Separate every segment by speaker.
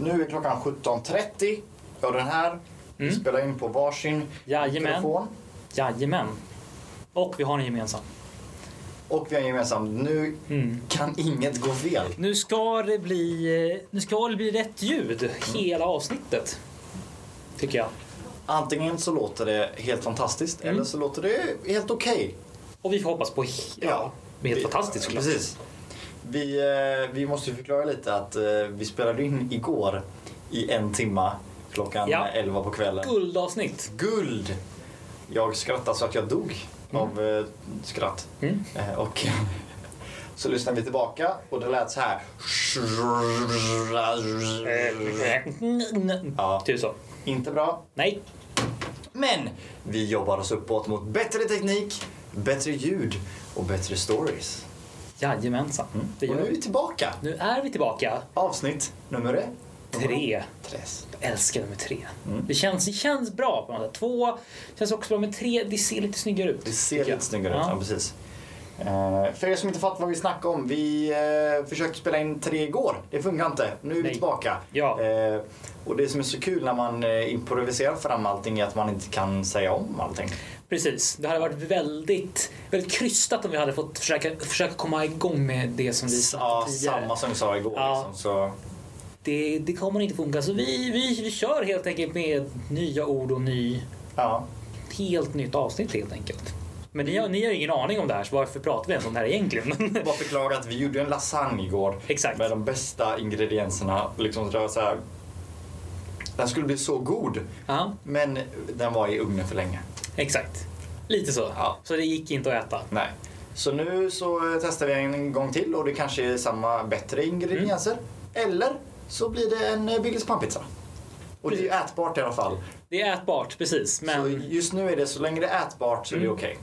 Speaker 1: Nu är klockan 17.30 och den här vi
Speaker 2: Mm.
Speaker 1: spelar in på varsin
Speaker 2: Jajamän.
Speaker 1: mikrofon.
Speaker 2: Jajamän. Och vi har en gemensam.
Speaker 1: Och vi har en gemensam. Nu
Speaker 2: Mm.
Speaker 1: kan inget gå fel.
Speaker 2: Nu ska det bli, eh, nu ska det bli rätt ljud hela avsnittet. Tycker jag.
Speaker 1: Antingen så låter det helt fantastiskt
Speaker 2: Mm.
Speaker 1: eller så låter det helt okej.
Speaker 2: Och vi får hoppas på he- ja, helt
Speaker 1: Vi-
Speaker 2: fantastiskt såklart.
Speaker 1: Precis. Vi, eh, vi måste ju förklara lite att eh, vi spelade in igår i en timma klockan
Speaker 2: Ja.
Speaker 1: 11 på kvällen.
Speaker 2: Guldavsnitt.
Speaker 1: Guld! Jag skrattade så att jag dog av eh, skratt.
Speaker 2: Mm.
Speaker 1: Eh, och så lyssnade vi tillbaka och det lät så här. Eh, Ja.
Speaker 2: Typ så.
Speaker 1: Inte bra.
Speaker 2: Nej.
Speaker 1: Men vi jobbar oss uppåt mot bättre teknik, bättre ljud och bättre stories.
Speaker 2: Jajamensan. Mm, Det
Speaker 1: Och
Speaker 2: gör
Speaker 1: nu är vi
Speaker 2: vi.
Speaker 1: tillbaka.
Speaker 2: Nu är vi tillbaka.
Speaker 1: Avsnitt nummer
Speaker 2: Tre.
Speaker 1: Tres.
Speaker 2: Jag älskar nummer tre.
Speaker 1: Mm.
Speaker 2: Det, känns, det känns bra på något sätt. Två känns också bra, men tre, det ser lite snyggare ut.
Speaker 1: Det ser
Speaker 2: tycker jag.
Speaker 1: lite snyggare ut.
Speaker 2: Ja.
Speaker 1: Ja, precis. Eh, för er som inte fattar vad vi snackar om. Vi eh, försökte spela in tre igår. Det funkar inte. Nu är vi
Speaker 2: Nej.
Speaker 1: tillbaka.
Speaker 2: Ja.
Speaker 1: Eh, och det som är så kul när man eh, improviserar fram allting är att man inte kan säga om allting.
Speaker 2: Precis. Det hade varit väldigt, väldigt krystat om vi hade fått försöka, försöka komma igång med det som vi
Speaker 1: Ja,
Speaker 2: snackade tidigare.
Speaker 1: samma som vi sa igår.
Speaker 2: Ja.
Speaker 1: Liksom, så.
Speaker 2: Det, det kommer inte funka. Så vi, vi, vi kör helt enkelt med nya ord och ny,
Speaker 1: Ja.
Speaker 2: helt nytt avsnitt helt enkelt. Men ni har, ni har ingen aning om det här, så varför pratar vi ens om det här egentligen? Men-
Speaker 1: Bara förklara att vi gjorde en lasagne igår
Speaker 2: Exakt.
Speaker 1: med de bästa ingredienserna. Liksom, det var så här, den skulle bli så god,
Speaker 2: ja,
Speaker 1: men den var i ugnen för länge.
Speaker 2: exakt. Lite så.
Speaker 1: Ja.
Speaker 2: Så det gick inte att äta.
Speaker 1: Nej. Så nu så eh, testar vi en gång till och det kanske är samma bättre ingredienser.
Speaker 2: Mm.
Speaker 1: Eller så blir det en eh, Billys pannpizza. Och det är ju ätbart i alla fall.
Speaker 2: Det är ätbart, precis. Men Mm.
Speaker 1: Så just nu är det, så länge det är ätbart så är det okej.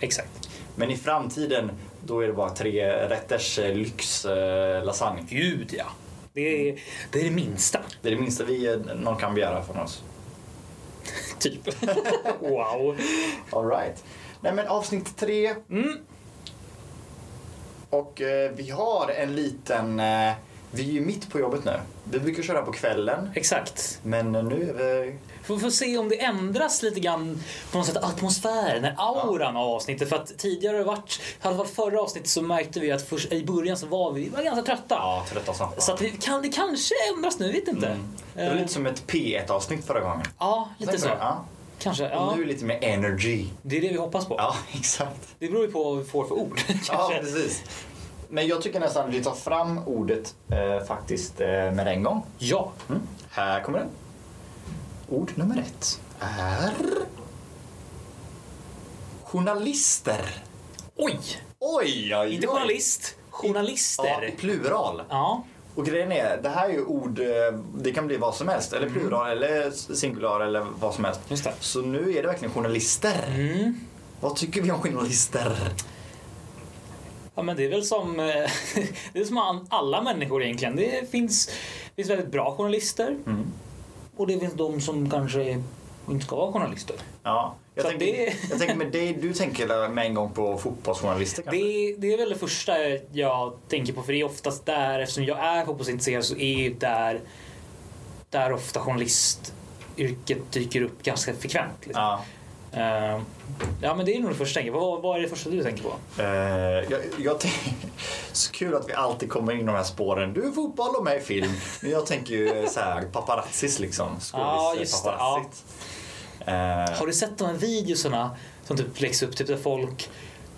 Speaker 2: exakt.
Speaker 1: Men i framtiden, då är det bara tre rätters eh, lyx eh, lasagne.
Speaker 2: Gud ja. Det är det, är det minsta,
Speaker 1: Det är det minsta vi, eh, någon kan begära från oss.
Speaker 2: typ. wow.
Speaker 1: All right. Nej men avsnitt tre.
Speaker 2: Mm.
Speaker 1: Och eh, vi har en liten... Eh, vi är ju mitt på jobbet nu. Vi brukar köra på kvällen.
Speaker 2: Exakt.
Speaker 1: Men eh, nu är vi...
Speaker 2: Får, får se om det ändras lite grann på något sätt atmosfären, den auran av avsnittet. För att tidigare har det varit, i alla fall förra avsnittet så märkte vi att först, i början så var vi, vi var ganska trötta.
Speaker 1: Ja, trötta som fan.
Speaker 2: Så att vi, kan, det kanske ändras nu, vet inte.
Speaker 1: Mm. Det var
Speaker 2: Eh,
Speaker 1: lite som ett P1-avsnitt förra gången.
Speaker 2: ja, lite
Speaker 1: Tänk
Speaker 2: så.
Speaker 1: på det, Ja.
Speaker 2: Kanske.
Speaker 1: Och
Speaker 2: Ja.
Speaker 1: nu är det lite mer energy.
Speaker 2: Det är det vi hoppas på.
Speaker 1: Ja, exakt.
Speaker 2: Det beror ju på vad vi får för ord.
Speaker 1: Ja,
Speaker 2: kanske.
Speaker 1: precis. Men jag tycker nästan att vi tar fram ordet eh, faktiskt eh, med en gång.
Speaker 2: ja.
Speaker 1: Mm. Här kommer den. Ord nummer ett är... Journalister.
Speaker 2: Oj!
Speaker 1: Oj, oj, oj.
Speaker 2: Inte journalist,
Speaker 1: Ja, i
Speaker 2: journalister.
Speaker 1: plural.
Speaker 2: Ja,
Speaker 1: Och grejen är, det här är ju ord, eh, det kan bli vad som helst. Eller plural, eller singular, eller vad som helst.
Speaker 2: Mm. just det.
Speaker 1: Så nu är det verkligen journalister.
Speaker 2: Mm.
Speaker 1: Vad tycker vi om journalister?
Speaker 2: Ja, men det är väl som, eh, det är som an- alla människor egentligen. Det finns, det finns väldigt bra journalister
Speaker 1: Mm.
Speaker 2: och det finns de som kanske inte ska vara journalister.
Speaker 1: Ja, jag,
Speaker 2: Så
Speaker 1: tänker,
Speaker 2: det-
Speaker 1: jag tänker med dig, du tänker med en gång på fotbollsjournalister kanske?
Speaker 2: Det, det är väl det första jag tänker på för det är oftast där, eftersom jag är fotbollsintresserad så är ju där, där ofta journalistyrket dyker upp ganska frekvent. Liksom.
Speaker 1: Ja.
Speaker 2: Eh, ja men det är nog det första jag tänker på. Vad, vad är det första du tänker på?
Speaker 1: Eh, jag, jag tänk- så kul att vi alltid kommer in i de här spåren. Du är fotboll och mig i film. Men jag tänker ju eh, så här paparazzis liksom.
Speaker 2: Ja, just det, ja.
Speaker 1: Skådis-paparazzit. Eh,
Speaker 2: Har du sett de här videoserna som typ läggs upp typ där folk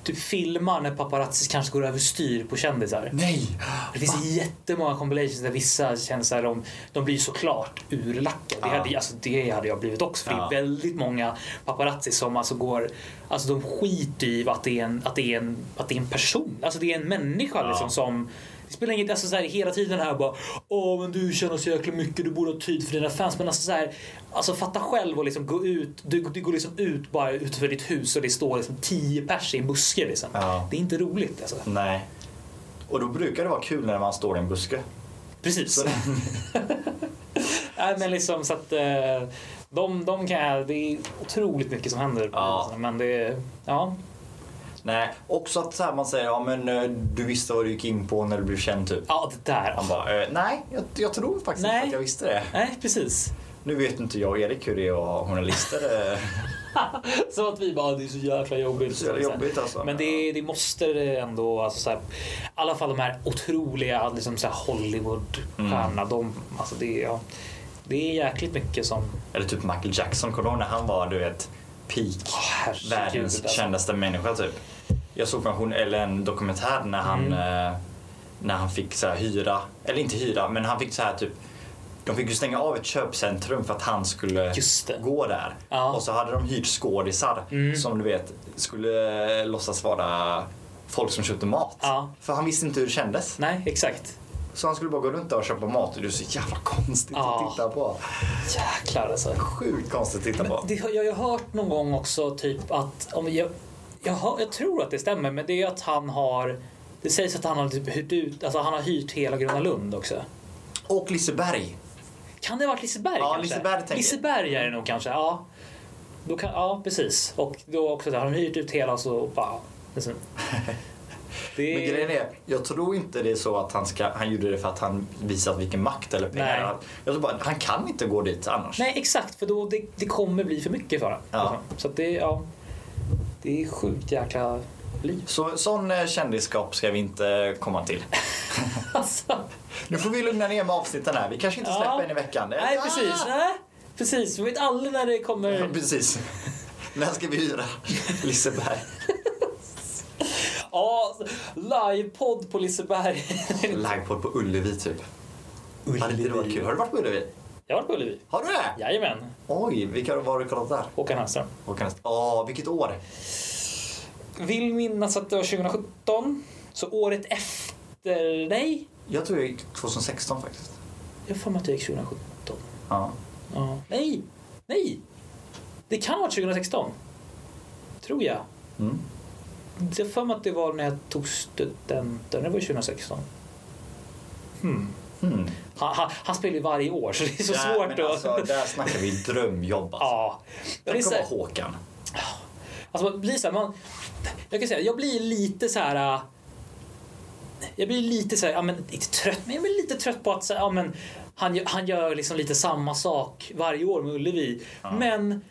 Speaker 2: typ filmar när paparazzis kanske går överstyr på kändisar?
Speaker 1: Nej!
Speaker 2: Det finns jättemånga compilations där vissa kändisar de, de blir såklart urlackade. Det,
Speaker 1: Ja.
Speaker 2: hade, alltså, det hade jag blivit också för
Speaker 1: Ja.
Speaker 2: det är väldigt många paparazzi som alltså går, alltså de skiter i att det är en, att det är en, att det är en person, alltså det är en människa
Speaker 1: Ja.
Speaker 2: liksom som det spelar inget, alltså så här, hela tiden här bara Åh men du tjänar så jäkla mycket, du borde ha tid för dina fans. Men alltså så här, alltså fatta själv och liksom gå ut, du, du går liksom ut bara utanför ditt hus och det står liksom tio pers i en buske liksom.
Speaker 1: Ja.
Speaker 2: Det är inte roligt alltså.
Speaker 1: Nej. Och då brukar det vara kul när man står i en buske.
Speaker 2: Precis.
Speaker 1: Så-
Speaker 2: Nej men liksom så att eh, de, de kan jag, det är otroligt mycket som händer på
Speaker 1: Ja.
Speaker 2: ja. men det är, ja.
Speaker 1: Nej, också att så här, man säger ja men eh, du visste vad du gick in på när du blev känd typ.
Speaker 2: Ja, det där.
Speaker 1: Han bara, eh, nej jag, jag tror faktiskt
Speaker 2: Nej.
Speaker 1: inte att jag visste det.
Speaker 2: Nej, precis.
Speaker 1: Nu vet inte jag och Erik hur det är att ha journalister. eh,
Speaker 2: Så att vi bara, det är så jäkla jobbigt.
Speaker 1: Så jävla jobbigt alltså.
Speaker 2: Men det, det måste det ändå, alltså så här, i alla fall de här otroliga liksom så här Hollywood-stjärnorna.
Speaker 1: Mm.
Speaker 2: De, alltså det, ja, det är jäkligt mycket som...
Speaker 1: Eller typ Michael Jackson, kommer du ihåg när han var du vet peak?
Speaker 2: Åh, herregud,
Speaker 1: världens
Speaker 2: alltså.
Speaker 1: kändaste människa typ. Jag såg pension, eller en dokumentär när han,
Speaker 2: Mm.
Speaker 1: eh, när han fick så här, hyra, eller inte hyra, men han fick så här typ de fick ju stänga av ett köpcentrum för att han skulle
Speaker 2: Just det.
Speaker 1: gå där.
Speaker 2: Ja. Mm.
Speaker 1: Och så hade de hyrt skådisar som du vet skulle eh, låtsas vara folk som köpte mat.
Speaker 2: Ja.
Speaker 1: För han visste inte hur det kändes.
Speaker 2: Nej, exakt.
Speaker 1: Så han skulle bara gå runt där och köpa mat och det är så jävla konstigt
Speaker 2: Ja.
Speaker 1: att titta på.
Speaker 2: Jäklar alltså.
Speaker 1: Sjukt konstigt att titta på.
Speaker 2: Det, har- jag har ju hört någon gång också typ att, om jag, jag, har, jag tror att det stämmer, men det är att han har, det sägs att han har typ hyrt ut, alltså han har hyrt hela Gröna Lund också.
Speaker 1: Och Liseberg.
Speaker 2: Kan det ha varit Liseberg
Speaker 1: Ja,
Speaker 2: kanske?
Speaker 1: Liseberg tänker jag.
Speaker 2: Liseberg är det nog kanske, ja. Då kan, ja, precis. Och då också, där har de hyrt ut hela och så bara... Liksom. Det,
Speaker 1: Men grejen är, jag tror inte det är så att han, ska, han gjorde det för att han visat vilken makt eller pengar
Speaker 2: Nej.
Speaker 1: han Jag tror bara, han kan inte gå dit annars.
Speaker 2: Nej, exakt. För då det, det kommer bli för mycket för honom.
Speaker 1: Ja.
Speaker 2: Så att det, ja. Det är sjukt jäkla liv.
Speaker 1: Så sån eh, kändisskap ska vi inte komma till.
Speaker 2: Alltså.
Speaker 1: Nu får vi lugna ner med avsnitten här. Vi kanske inte släpper en i veckan. Det-
Speaker 2: Nej, precis. Nej, precis. Vi vet aldrig när det
Speaker 1: Ja,
Speaker 2: kommer...
Speaker 1: precis. När ska vi hyra Liseberg?
Speaker 2: Ja, livepodd på Liseberg.
Speaker 1: Livepodd på Ullevi typ. Hade inte det varit kul? Har du varit på Ullevi?
Speaker 2: Jag har varit på Ullevi.
Speaker 1: Har du det?
Speaker 2: Jajamän.
Speaker 1: Oj, vilka var har du kollat där?
Speaker 2: Håkan Hellström.
Speaker 1: Och kan... Åh, vilket år!
Speaker 2: vill minnas att det var 2017. Så året efter... Nej.
Speaker 1: Jag tror jag gick 2016 faktiskt.
Speaker 2: Jag har för mig att det gick 2017.
Speaker 1: Ja.
Speaker 2: Ja. Nej. Nej. Det kan ha varit 2016. Tror jag.
Speaker 1: Mm.
Speaker 2: Jag har för mig att det var när jag tog studenten. Det var ju 2016. Hmm.
Speaker 1: Hmm.
Speaker 2: Han, han, han spelar ju varje år så det är så
Speaker 1: Där-
Speaker 2: svårt
Speaker 1: men
Speaker 2: att...
Speaker 1: Alltså, där snackar vi drömjobb alltså.
Speaker 2: ja. Men det är
Speaker 1: Tänk
Speaker 2: så
Speaker 1: om
Speaker 2: här-
Speaker 1: vara Håkan.
Speaker 2: Alltså man blir så här, man, jag kan säga, jag blir lite så här. äh, Jag blir lite så här, ja, men, inte trött, men jag blir lite trött på att så här, ja, men, han, gör- han gör liksom lite samma sak varje år med Ullevi. Men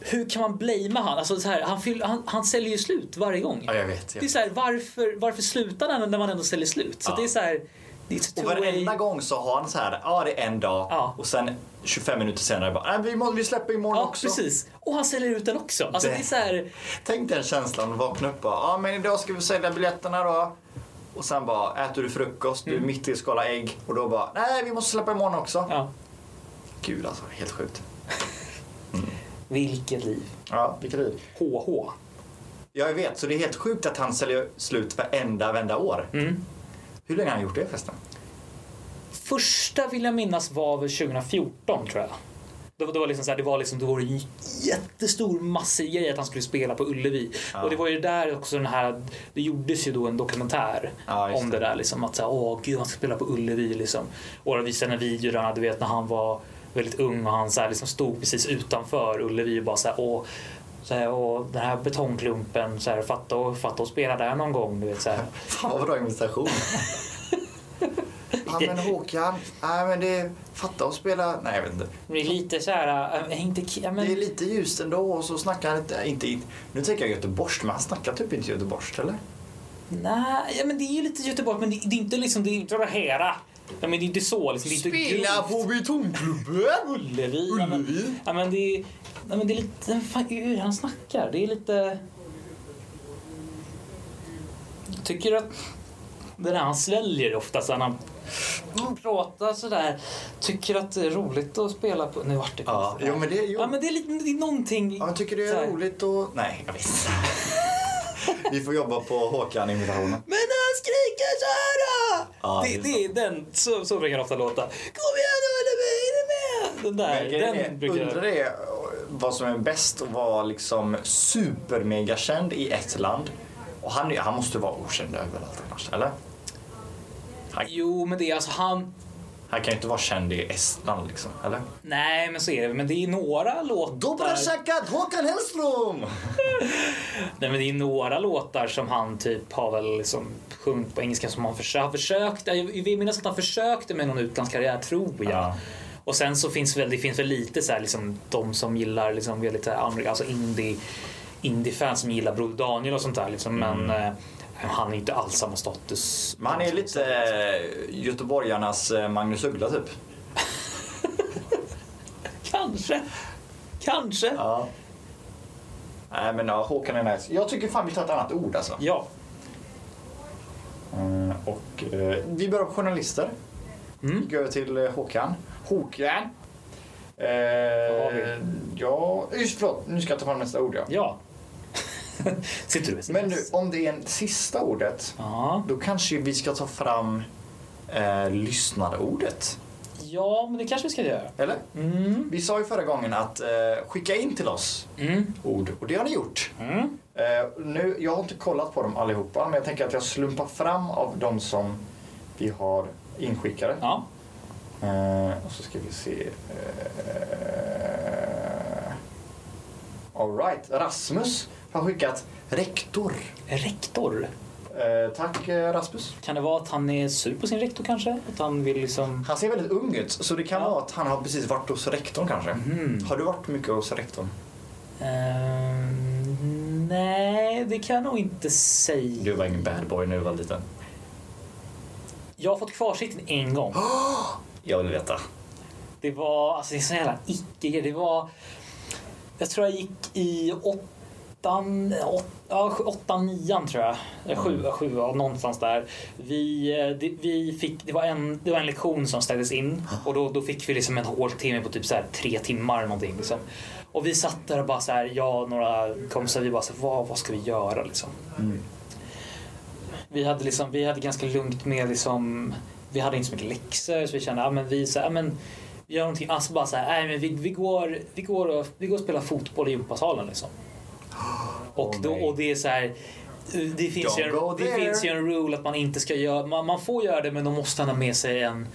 Speaker 2: hur kan man blamea han? Alltså, så här, han, fyll, han? Han säljer ju slut varje gång.
Speaker 1: Ja, jag vet.
Speaker 2: Det är så här, varför, varför slutar han när man ändå säljer slut? Så
Speaker 1: Ja.
Speaker 2: det är så här, det är ett
Speaker 1: Och
Speaker 2: two-way-
Speaker 1: varenda gång så har han så här, ja det är en dag
Speaker 2: Ja.
Speaker 1: och sen 25 minuter senare bara, nej vi, må, vi släpper imorgon
Speaker 2: Ja,
Speaker 1: också.
Speaker 2: precis. Och han säljer ut den också. Alltså,
Speaker 1: Det-
Speaker 2: det är så här,
Speaker 1: Tänk den känslan att vakna upp och bara, ja men idag ska vi sälja biljetterna då. Och sen bara, äter du frukost, du är mitt i att skala ägg och då bara, nej vi måste släppa imorgon också.
Speaker 2: Mm. ja.
Speaker 1: Gud alltså, helt sjukt.
Speaker 2: Vilket liv.
Speaker 1: Ja, vilket liv.
Speaker 2: HH.
Speaker 1: Ja, jag vet, så det är helt sjukt att han säljer slut varenda vända år.
Speaker 2: Mm.
Speaker 1: Hur länge har han gjort det förresten?
Speaker 2: Första vill jag minnas var väl 2014 tror jag. Det var, det var liksom så här, det var liksom, det var en jättestor massig grej att han skulle spela på Ullevi.
Speaker 1: Ja.
Speaker 2: Och det var ju där också den här, det gjordes ju då en dokumentär
Speaker 1: Ja, just
Speaker 2: om det där liksom. Att säga, åh gud han ska spela på Ullevi liksom. Och de visade en video där, du vet när han var väldigt ung och han så här, liksom stod precis utanför Ullevi och bara så här, åh så här, och den här betongklumpen, så här, fatta, och, fatta och spela där någon gång. Du vet, så här.
Speaker 1: Fan vad bra invitation. Ja men Håkan, nej men det fatta och spela. Nej jag vet inte.
Speaker 2: Det är lite så här, äh, inte, ki- ja, men...
Speaker 1: Det är lite ljust ändå och så snackar han inte, inte in- Nu tänker jag göteborgskt men han snackar typ inte göteborgskt eller?
Speaker 2: Nej, ja, men det är ju lite Göteborg, men det, det är inte liksom, det är inte det här. Ja, men det är inte så liksom. Det är inte grovt.
Speaker 1: på betongklubben!
Speaker 2: Ullevi. Ja, men,
Speaker 1: Ullevi.
Speaker 2: ja, men det är, ja, men det är lite, fan, hur han snackar. Det är lite... Jag tycker att det där han sväljer ofta så när han pratar sådär. Tycker att det är roligt att spela på... Nu vart det
Speaker 1: Ja,
Speaker 2: konstigt.
Speaker 1: jo, men det- jo.
Speaker 2: Ja, men det är lite, det är någonting...
Speaker 1: Ja men tycker det
Speaker 2: så
Speaker 1: är
Speaker 2: här.
Speaker 1: roligt och... Nej jag vet inte. Vi får jobba på Håkan-invitationen.
Speaker 2: Men han skriker så här då!
Speaker 1: Ja,
Speaker 2: det,
Speaker 1: det
Speaker 2: det är den, så, så brukar det ofta låta. Kom igen nu Ullevi, är du med? Den där,
Speaker 1: Men grejen
Speaker 2: den
Speaker 1: är,
Speaker 2: brukar
Speaker 1: Undrar
Speaker 2: jag...
Speaker 1: det vad som är bäst att vara liksom supermegakänd i ett land. Och han, är- han måste vara okänd överallt annars, eller?
Speaker 2: Jo, men det är alltså han...
Speaker 1: Han kan ju inte vara känd i Estland liksom, eller?
Speaker 2: Nej, men så är det. Men det är några låtar...
Speaker 1: tjackat Håkan Hellström!
Speaker 2: Nej, men det är några låtar som han typ har väl liksom sjungit på engelska som han försökt, försökt jag vill minnas att han försökte med någon utlandskarriär tror jag.
Speaker 1: Ja.
Speaker 2: Och sen så finns väl, det finns väl lite så här liksom de som gillar liksom väldigt så här, andra- alltså indie, indiefans som gillar Broder Daniel och sånt där liksom. Men eh, han är inte alls samma status.
Speaker 1: Mm. Men han är lite eh, göteborgarnas eh, Magnus Uggla typ.
Speaker 2: Kanske. Kanske. Ja.
Speaker 1: Ja. Nej men ja, Håkan är nice. Jag tycker fan vi tar ett annat ord alltså. Eh, och, eh, vi börjar på journalister. Vi
Speaker 2: Mm.
Speaker 1: går över till eh, Håkan. Håkan! Eh,
Speaker 2: har vi?
Speaker 1: ja, just förlåt. Nu ska jag ta fram nästa ord ja.
Speaker 2: Ja. Sitter du med
Speaker 1: Men nu, om det är en sista ordet,
Speaker 2: Ja.
Speaker 1: då kanske vi ska ta fram eh, lyssnarordet.
Speaker 2: ja, men det kanske vi ska göra.
Speaker 1: Eller?
Speaker 2: Mm.
Speaker 1: Vi sa ju förra gången att eh, skicka in till oss
Speaker 2: Mm.
Speaker 1: ord och det har ni gjort.
Speaker 2: Mm.
Speaker 1: Eh, nu, jag har inte kollat på dem allihopa men jag tänker att jag slumpar fram av de som vi har inskickade.
Speaker 2: Ja.
Speaker 1: Eh, och så ska vi se. Eh, Alright, Rasmus har skickat rektor.
Speaker 2: Rektor?
Speaker 1: Eh, tack eh, Rasmus.
Speaker 2: Kan det vara att han är sur på sin rektor kanske? Att han vill liksom...
Speaker 1: Han ser väldigt ung ut så det kan
Speaker 2: Ja.
Speaker 1: vara att han har precis varit hos rektorn kanske.
Speaker 2: Mhm.
Speaker 1: Har du varit mycket hos rektorn?
Speaker 2: Ehm, nej, det kan jag nog inte säga.
Speaker 1: Du var ingen bad boy när du var liten.
Speaker 2: Jag har fått kvarsittning en gång.
Speaker 1: Jag vill veta.
Speaker 2: Det var, alltså det är sån jävla icke Det var, jag tror jag gick i åttan, åt, ja, sju- åttan, nian tror jag. Eh, Sju, sju, ja, någonstans där. Vi, eh, det, vi fick, det var en, det var en lektion som ställdes in och då, då fick vi liksom en hård timme på typ så här tre timmar eller någonting liksom. Och vi satt där och bara så här, jag och några kompisar, vi bara så här, vad, vad ska vi göra liksom? vi hade, liksom, vi hade ganska lugnt med liksom, vi hade inte så mycket läxor så vi kände, ja men vi så här, ja, men vi gör någonting, alltså bara så här, nej men vi, vi går, vi går och, vi går och spelar fotboll i gympasalen liksom. Och,
Speaker 1: Åh,
Speaker 2: då,
Speaker 1: nej.
Speaker 2: och det är så här, det finns, ju
Speaker 1: Don't go
Speaker 2: en, det
Speaker 1: there.
Speaker 2: finns ju en rule att man inte ska göra, man, man får göra det men då måste han ha med sig en,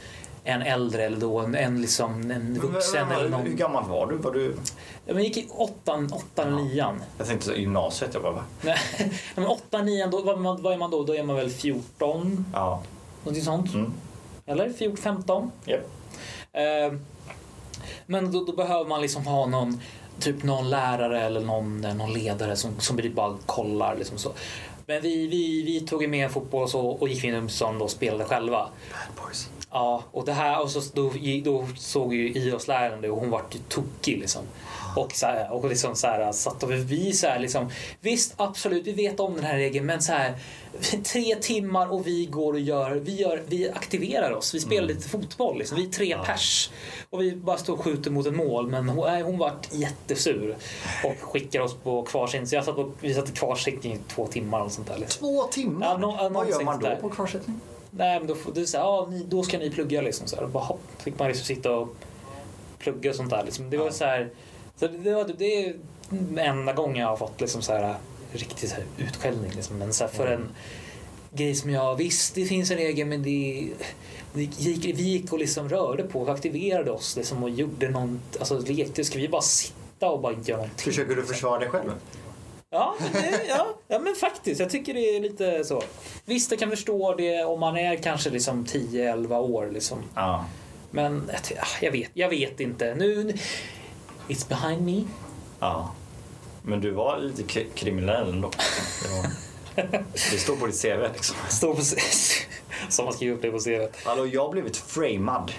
Speaker 2: en äldre eller då en, en liksom en vuxen eller
Speaker 1: Hur
Speaker 2: någon.
Speaker 1: gammal var du? Var du...
Speaker 2: Ja, men gick i åttan, åttan, nian.
Speaker 1: Jag tänkte så gymnasiet, jag bara va?
Speaker 2: Nej men åttan, nian, då, vad, vad är man då? Då är man väl 14?
Speaker 1: Ja.
Speaker 2: Någonting sånt.
Speaker 1: Mm.
Speaker 2: Eller 14, 15.
Speaker 1: Japp.
Speaker 2: Eh, men då, då behöver man liksom ha någon, typ någon lärare eller någon, eh, någon ledare som, som bara kollar. Liksom så. Men vi, vi, vi tog ju med fotboll och, så, och gick in i Umsson och spelade själva.
Speaker 1: Bad boys.
Speaker 2: Ja, och det här, och så, då, då såg ju idrottsläraren det och hon vart ju tokig liksom. Och, så här, och liksom så här, satt och vi så här liksom, visst absolut vi vet om den här regeln men så här, tre timmar och vi går och gör, vi, gör, vi aktiverar oss, vi spelar lite fotboll liksom, vi är tre pers. Och vi bara står och skjuter mot ett mål men hon, nej, hon vart jättesur och skickar oss på kvarsittning. Så jag satt på, vi satt i kvarsittning i två timmar och sånt där. Liksom.
Speaker 1: Två timmar?
Speaker 2: Ja, nå- ja,
Speaker 1: Vad gör man då
Speaker 2: någonstans
Speaker 1: på kvarsittning?
Speaker 2: Nej, men då, får- det är så här, ja, ni, då ska ni plugga liksom. Så här, Och bara, hopp, fick man liksom sitta och plugga och sånt där. Liksom. Det var så här, så det, det, var, typ- det är den enda gången jag har fått liksom, så här, riktigt så här, utskällning. Liksom. Men så här, för en grej som jag visst, det finns en regel men det, det gick, vi gick och liksom rörde på och aktiverade oss liksom, och gjorde någon, alltså lekte. Ska vi bara sitta och bara inte göra någonting?
Speaker 1: Försöker du
Speaker 2: liksom?
Speaker 1: försvara dig själv?
Speaker 2: Ja, men det, ja, ja, men faktiskt. Jag tycker det är lite så. Visst, jag kan förstå det om man är kanske liksom 10-11 år. Liksom.
Speaker 1: Ja.
Speaker 2: Men jag, ty- ah, jag, vet, jag vet inte. Nu, nu- it's behind me.
Speaker 1: ja. Men du var lite k- kriminell ändå. Det, var... det står på ditt CV liksom.
Speaker 2: Står på s- Som man skriver upp det på CV.
Speaker 1: Hallå, jag har blivit framad.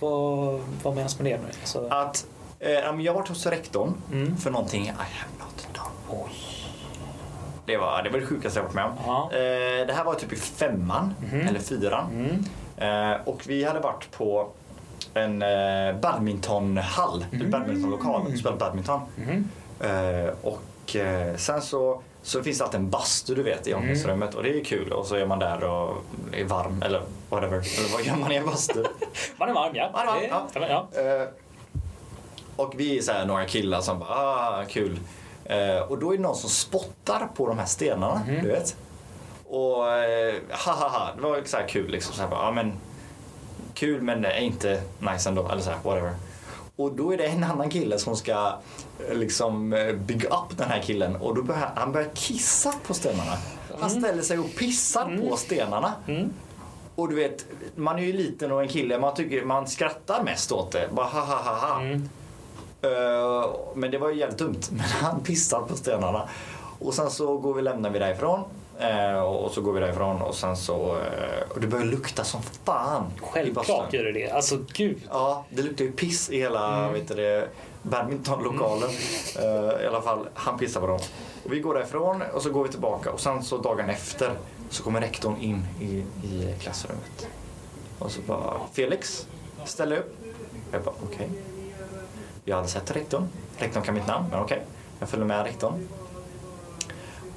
Speaker 2: Vad, vad menas med det nu? Alltså,
Speaker 1: Att eh, ja, men jag har varit hos rektorn
Speaker 2: Mm.
Speaker 1: för någonting I have not done.
Speaker 2: oj.
Speaker 1: Det var det, var det sjukaste jag varit med om.
Speaker 2: Ja. Mhm.
Speaker 1: Eh, det här var typ i femman eller fyran.
Speaker 2: Mm.
Speaker 1: Eh, och vi hade varit på en eh, badmintonhall, mm. badmintonlokal och spelat badminton.
Speaker 2: Mhm.
Speaker 1: Eh, och eh, sen så, så finns det alltid en bastu du vet i omklädningsrummet
Speaker 2: Mm.
Speaker 1: och det är kul och så är man där och är varm eller whatever. Eller vad gör man i en bastu?
Speaker 2: Man är varm, ja.
Speaker 1: Man är varm,
Speaker 2: Det-
Speaker 1: ja.
Speaker 2: men, ja.
Speaker 1: Eh, och vi är så här några killar som bara, ah, kul. Eh, och då är det någon som spottar på de här stenarna, du vet. Och eh, ha ha ha, det var så här kul liksom. Så här, bara, ah, men, kul men det är inte nice ändå. Eller så här, whatever. Och då är det en annan kille som ska eh, liksom eh, bygga upp den här killen och då börjar han börjar kissa på stenarna. Han ställer sig och pissar på stenarna. Och du vet, man är ju liten och en kille, man, tycker, man skrattar mest åt det. Bara ha ha ha ha. Eh, men det var ju jävligt dumt. Men han pissade på stenarna. Och sen så går vi, lämnar vi därifrån. Eh, och så går vi därifrån och sen så... eh, och det börjar lukta som fan i bastun.
Speaker 2: Självklart gör det det. Alltså gud.
Speaker 1: Ja, det luktar ju piss i hela vet du det, badmintonlokalen. Eh, I alla fall, han pissar på dem. Och vi går därifrån och så går vi tillbaka och sen så dagen efter så kommer rektorn in i, i klassrummet. Och så bara, Felix, ställ dig upp. Jag bara, okej. Jag hade sett rektorn. Rektorn kan mitt namn, men okej. Jag följer med rektorn.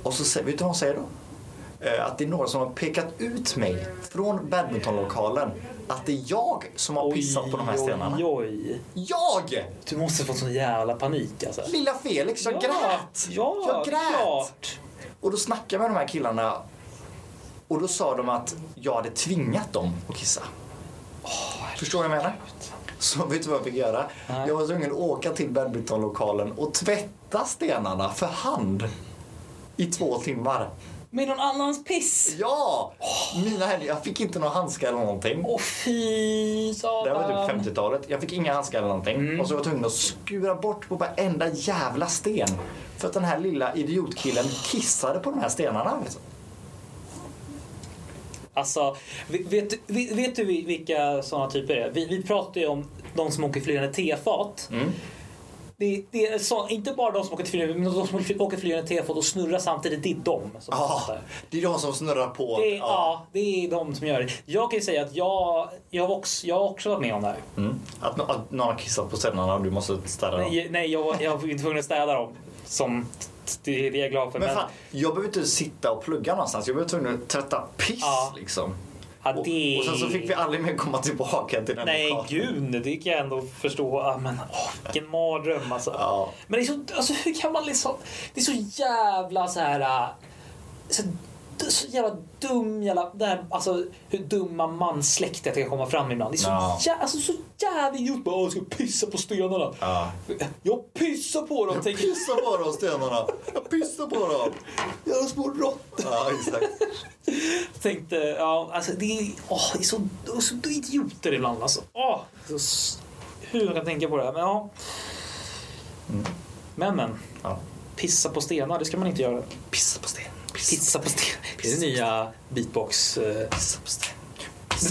Speaker 1: Och så sä- vet du vad hon säger då? Eh, Att det är några som har pekat ut mig från badmintonlokalen. Att det är jag som har pissat på de här stenarna.
Speaker 2: Oj, oj.
Speaker 1: Jag!
Speaker 2: Du måste ha fått sån jävla panik alltså.
Speaker 1: Lilla Felix, jag grät!
Speaker 2: Ja,
Speaker 1: jag grät!
Speaker 2: klart.
Speaker 1: Och då snackade jag med de här killarna och då sa de att jag hade tvingat dem att kissa. Förstår du vad jag menar? Så vet du vad jag fick göra?
Speaker 2: Nej.
Speaker 1: Jag var tvungen att åka till badmintonlokalen och tvätta stenarna för hand i två timmar.
Speaker 2: Med någon annans piss.
Speaker 1: Ja! Mina händer, jag fick inte några handskar eller någonting.
Speaker 2: Åh fy
Speaker 1: Det här var
Speaker 2: satan.
Speaker 1: typ 50-talet. Jag fick inga handskar eller någonting. Och så var jag tvungen att skura bort på varenda jävla sten. För att den här lilla idiotkillen kissade på de här stenarna. Liksom.
Speaker 2: Alltså, vet, vet, vet, vet du vi- vilka sådana typer det är? Vi, vi pratar ju om de som åker flygande tefat.
Speaker 1: Mm.
Speaker 2: Det, det är så, inte bara de som åker flygande, men de som åker fly- åker flygande tefat och snurrar samtidigt, det är de som
Speaker 1: Ja,
Speaker 2: pratar.
Speaker 1: det är de som snurrar på.
Speaker 2: Det är, ja.
Speaker 1: Ah. ja.
Speaker 2: det är de som gör det. Jag kan ju säga att jag, jag, har också, jag har också varit med om det här.
Speaker 1: Mm. Att, nå- att någon har kissat på stenarna och du måste städa dem.
Speaker 2: Nej, nej, jag, jag var tvungen att städa dem. Som, det är jag glad för.
Speaker 1: Men fan, jag behöver inte sitta och plugga någonstans. Jag behöver tvungen att tvätta piss
Speaker 2: Ja.
Speaker 1: liksom.
Speaker 2: ja,
Speaker 1: Och,
Speaker 2: det...
Speaker 1: och sen så fick vi aldrig mer komma tillbaka till den
Speaker 2: Nej,
Speaker 1: lokalen.
Speaker 2: gud, det kan jag ändå förstå. Ja, men, åh, vilken mardröm alltså.
Speaker 1: Ja.
Speaker 2: Men det är så, alltså, hur kan man liksom... Det är så jävla så här... äh, Så, så jävla dum jävla... Det här, alltså hur dumma manssläktet kan komma fram ibland. Det är så,
Speaker 1: Ja.
Speaker 2: jä, alltså, så jävla idiot. Bara, "Åh, jag ska pissa på stenarna.
Speaker 1: Ja.
Speaker 2: Jag pissar på dem, tänker jag.
Speaker 1: Pissa på dem stenarna! Jag pissar på dem!
Speaker 2: Jävla små råttor.
Speaker 1: Ja, exakt.
Speaker 2: Tänkte, ja, alltså det är, åh, det är så, det är så idioter ibland alltså. Åh, så, s- hur jag kan tänka på det här, men ja. Mm. Men men,
Speaker 1: Ja.
Speaker 2: pissa på stenar, det ska man inte göra.
Speaker 1: Pissa på sten. Pissa,
Speaker 2: Pissa på stenar. Det är den nya beatbox... eh.
Speaker 1: pissa på sten.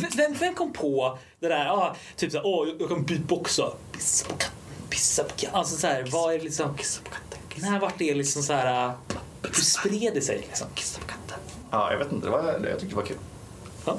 Speaker 2: Men Vem, vem kom på det där, ah, typ såhär, åh, jag, jag kan beatboxa. Pissa på katten, pissa på katten. Alltså såhär, vad är det liksom,
Speaker 1: Kissa på katten. Kissa,
Speaker 2: när vart det liksom såhär, äh, hur spred det sig liksom?
Speaker 1: kissa på katten. Ja, jag vet inte. Det var, det- jag tyckte det var kul.
Speaker 2: Ja.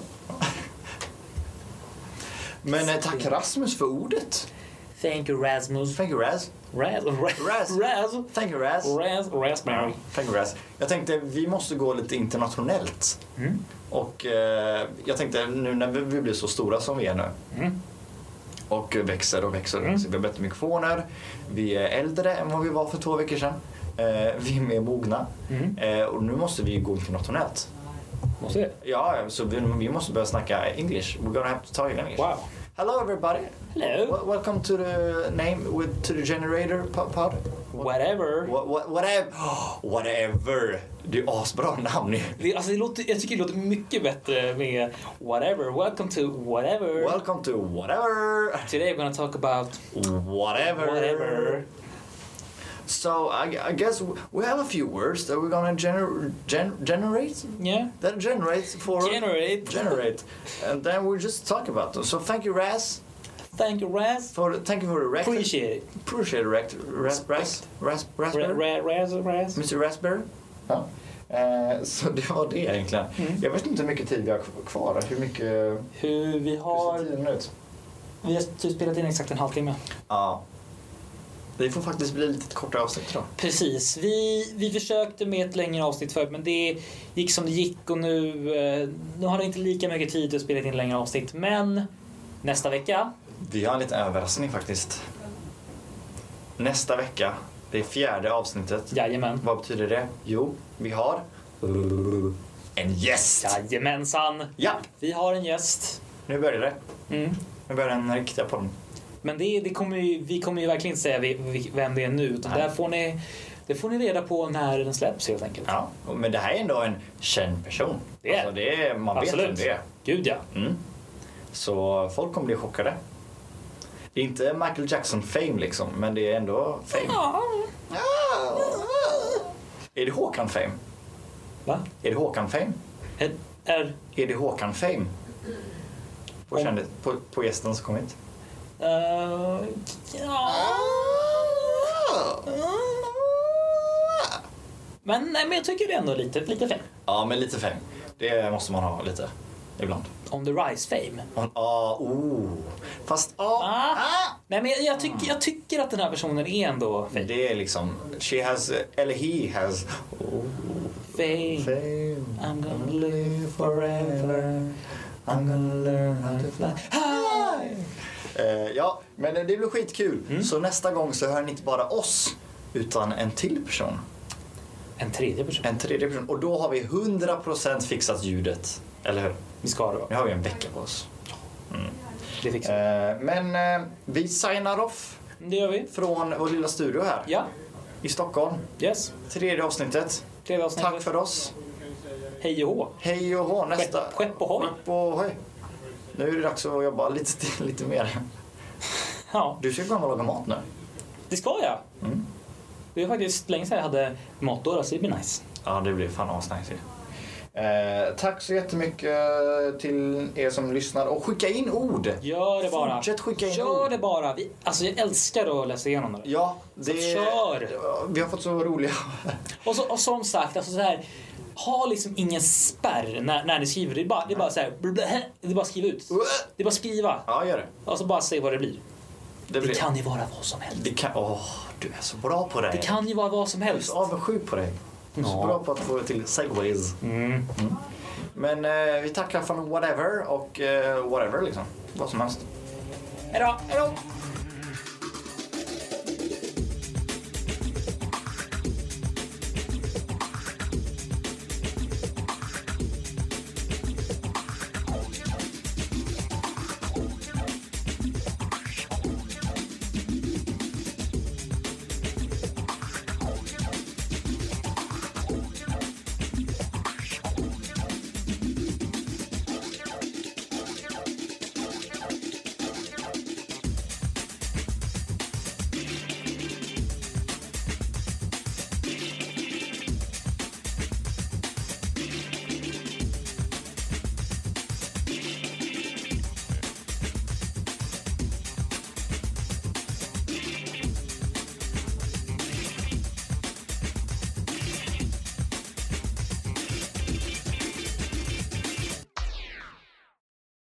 Speaker 1: Men eh, tack Rasmus för ordet.
Speaker 2: Thank you Rasmus.
Speaker 1: Thank you Raz.
Speaker 2: Raz,
Speaker 1: Raz.
Speaker 2: Raz, Raz.
Speaker 1: Thank you Raz.
Speaker 2: Raz, raspberry.
Speaker 1: Thank you Raz. Jag tänkte vi måste gå lite internationellt.
Speaker 2: Mm.
Speaker 1: Och eh, jag tänkte nu när vi vi blir så stora som vi är nu.
Speaker 2: Mm.
Speaker 1: Och växer och växer. och växer. Vi har bättre mikrofoner. Vi är äldre än vad vi var för två veckor sedan. Eh, vi är mer mogna.
Speaker 2: Mm.
Speaker 1: Eh, och nu måste vi gå internationellt.
Speaker 2: Måste det?
Speaker 1: Ja, så vi, vi måste börja snacka English. We're gonna have to talk in English.
Speaker 2: Wow.
Speaker 1: Hello everybody.
Speaker 2: Hello.
Speaker 1: W- welcome to the name with to the generator po- pod.
Speaker 2: Whatever.
Speaker 1: What, what, whatever. whatever. Det är asbra namn ju.
Speaker 2: Det, alltså, det låter, jag tycker det låter mycket bättre med whatever. Welcome to whatever.
Speaker 1: Welcome to whatever.
Speaker 2: Today we're gonna talk about
Speaker 1: Whatever.
Speaker 2: whatever.
Speaker 1: So I, I guess we have a few words that we're gonna gener- gen- generate.
Speaker 2: Yeah.
Speaker 1: That generates for
Speaker 2: Generate.
Speaker 1: generate, and then we'll just talk about them. So thank you, Raz,
Speaker 2: Thank you, Raz.
Speaker 1: for thank you for the rec-
Speaker 2: Appreciate it.
Speaker 1: appreciate it, rec- ras- ras- ras-
Speaker 2: Ra-
Speaker 1: raspberry.
Speaker 2: ra- Raz, Raz.
Speaker 1: Mr Raspberry? Ja. Eh, så det var det egentligen.
Speaker 2: Mm.
Speaker 1: Jag vet inte hur mycket tid vi har kvar. Hur mycket...
Speaker 2: Hur vi
Speaker 1: Hur ser
Speaker 2: har...
Speaker 1: tiden ut?
Speaker 2: Vi har typ spelat in exakt en halvtimme.
Speaker 1: Ja. Det får faktiskt bli lite kortare avsnitt tror
Speaker 2: Precis. Vi, vi försökte med ett längre avsnitt förut men det gick som det gick och nu, eh, nu har det inte lika mycket tid att spela in längre avsnitt. Men nästa vecka
Speaker 1: Vi har en liten överraskning faktiskt. Nästa vecka, det är fjärde avsnittet.
Speaker 2: Jajamän.
Speaker 1: Vad betyder det? Jo, vi har en gäst!
Speaker 2: Jajamensan.
Speaker 1: Ja!
Speaker 2: Vi har en gäst.
Speaker 1: nu börjar det.
Speaker 2: Mm.
Speaker 1: Nu börjar den riktiga podden.
Speaker 2: Men det, det kommer ju, vi kommer ju verkligen inte säga vi- vi- vem det är nu. Utan
Speaker 1: Nej.
Speaker 2: där får ni, det får ni reda på när den släpps helt enkelt.
Speaker 1: Ja, och- men det här är ändå en känd person.
Speaker 2: Det är
Speaker 1: alltså, det är Man vet vem
Speaker 2: Absolut.
Speaker 1: det är.
Speaker 2: Gud ja.
Speaker 1: Mm. Så folk kommer bli chockade. Det är inte Michael Jackson-fame liksom, men det är ändå fame. Är det Håkan-fame?
Speaker 2: Va?
Speaker 1: Är det Håkan-fame?
Speaker 2: Är, är, eh,
Speaker 1: Är det Håkan-fame? På,
Speaker 2: Om-
Speaker 1: kände- på, på gästen som kom hit.
Speaker 2: eh, ja. Men, nej, men jag tycker det är ändå lite, lite fint.
Speaker 1: Ja, men lite fame. Det måste man ha lite ibland.
Speaker 2: On the rise fame.
Speaker 1: Man, ah, oh. Fast ah,
Speaker 2: Ah.
Speaker 1: ah.
Speaker 2: Nej, men jag, jag, tycker, jag tycker att den här personen är ändå
Speaker 1: Men det är liksom, she has, eller he has oh,
Speaker 2: fame.
Speaker 1: fame.
Speaker 2: I'm gonna live forever.
Speaker 1: I'm gonna learn how to fly.
Speaker 2: Hi! Mm.
Speaker 1: Eh, ja, men det blir skitkul. Så nästa gång så hör ni inte bara oss, utan en till person.
Speaker 2: En tredje person.
Speaker 1: En tredje person. Och då har vi 100% fixat ljudet. Eller hur?
Speaker 2: Vi ska det va?
Speaker 1: Nu har vi en vecka på oss.
Speaker 2: Det fixar vi.
Speaker 1: Eh, men eh, vi signar off
Speaker 2: Det gör vi.
Speaker 1: från vår lilla studio här
Speaker 2: Ja.
Speaker 1: i Stockholm.
Speaker 2: Yes.
Speaker 1: Tredje avsnittet.
Speaker 2: Tredje avsnittet.
Speaker 1: Tack för oss.
Speaker 2: Hej och hå.
Speaker 1: Hej och hå. Nästa.
Speaker 2: Skepp- skepp ohoj.
Speaker 1: Skepp ohoj. Nu är det dags att jobba lite, till- lite mer.
Speaker 2: Ja,
Speaker 1: Du ska gå hem och laga mat nu.
Speaker 2: det ska jag.
Speaker 1: Mm.
Speaker 2: Det är faktiskt länge sedan jag hade matdårar så det blir nice.
Speaker 1: Ja, det blir fan asnice. Eh, tack så jättemycket till er som lyssnar och skicka in ord.
Speaker 2: Gör det bara.
Speaker 1: Fortsätt skicka in
Speaker 2: Gör
Speaker 1: ord.
Speaker 2: det bara. Vi, alltså jag älskar att läsa igenom det.
Speaker 1: Ja, det...
Speaker 2: kör.
Speaker 1: Vi har fått så roliga...
Speaker 2: Och, så, och som sagt, alltså så här, ha liksom ingen spärr när, när ni skriver. Det är bara, det är bara så här, blä, det är bara skriva ut. Det är bara skriva.
Speaker 1: Ja, gör det.
Speaker 2: Och så bara se vad det blir.
Speaker 1: Det,
Speaker 2: Det
Speaker 1: blir...
Speaker 2: kan ju vara vad som helst.
Speaker 1: Det kan... Åh, du är så bra på det.
Speaker 2: Det kan ju vara vad som
Speaker 1: Jag är
Speaker 2: helst.
Speaker 1: så avundsjuk på dig. Du är så
Speaker 2: Ja.
Speaker 1: bra på att få till segways.
Speaker 2: Mm.
Speaker 1: Men eh, vi tackar för whatever och eh, whatever liksom. Vad som helst.
Speaker 2: Hejdå!
Speaker 1: Hej då!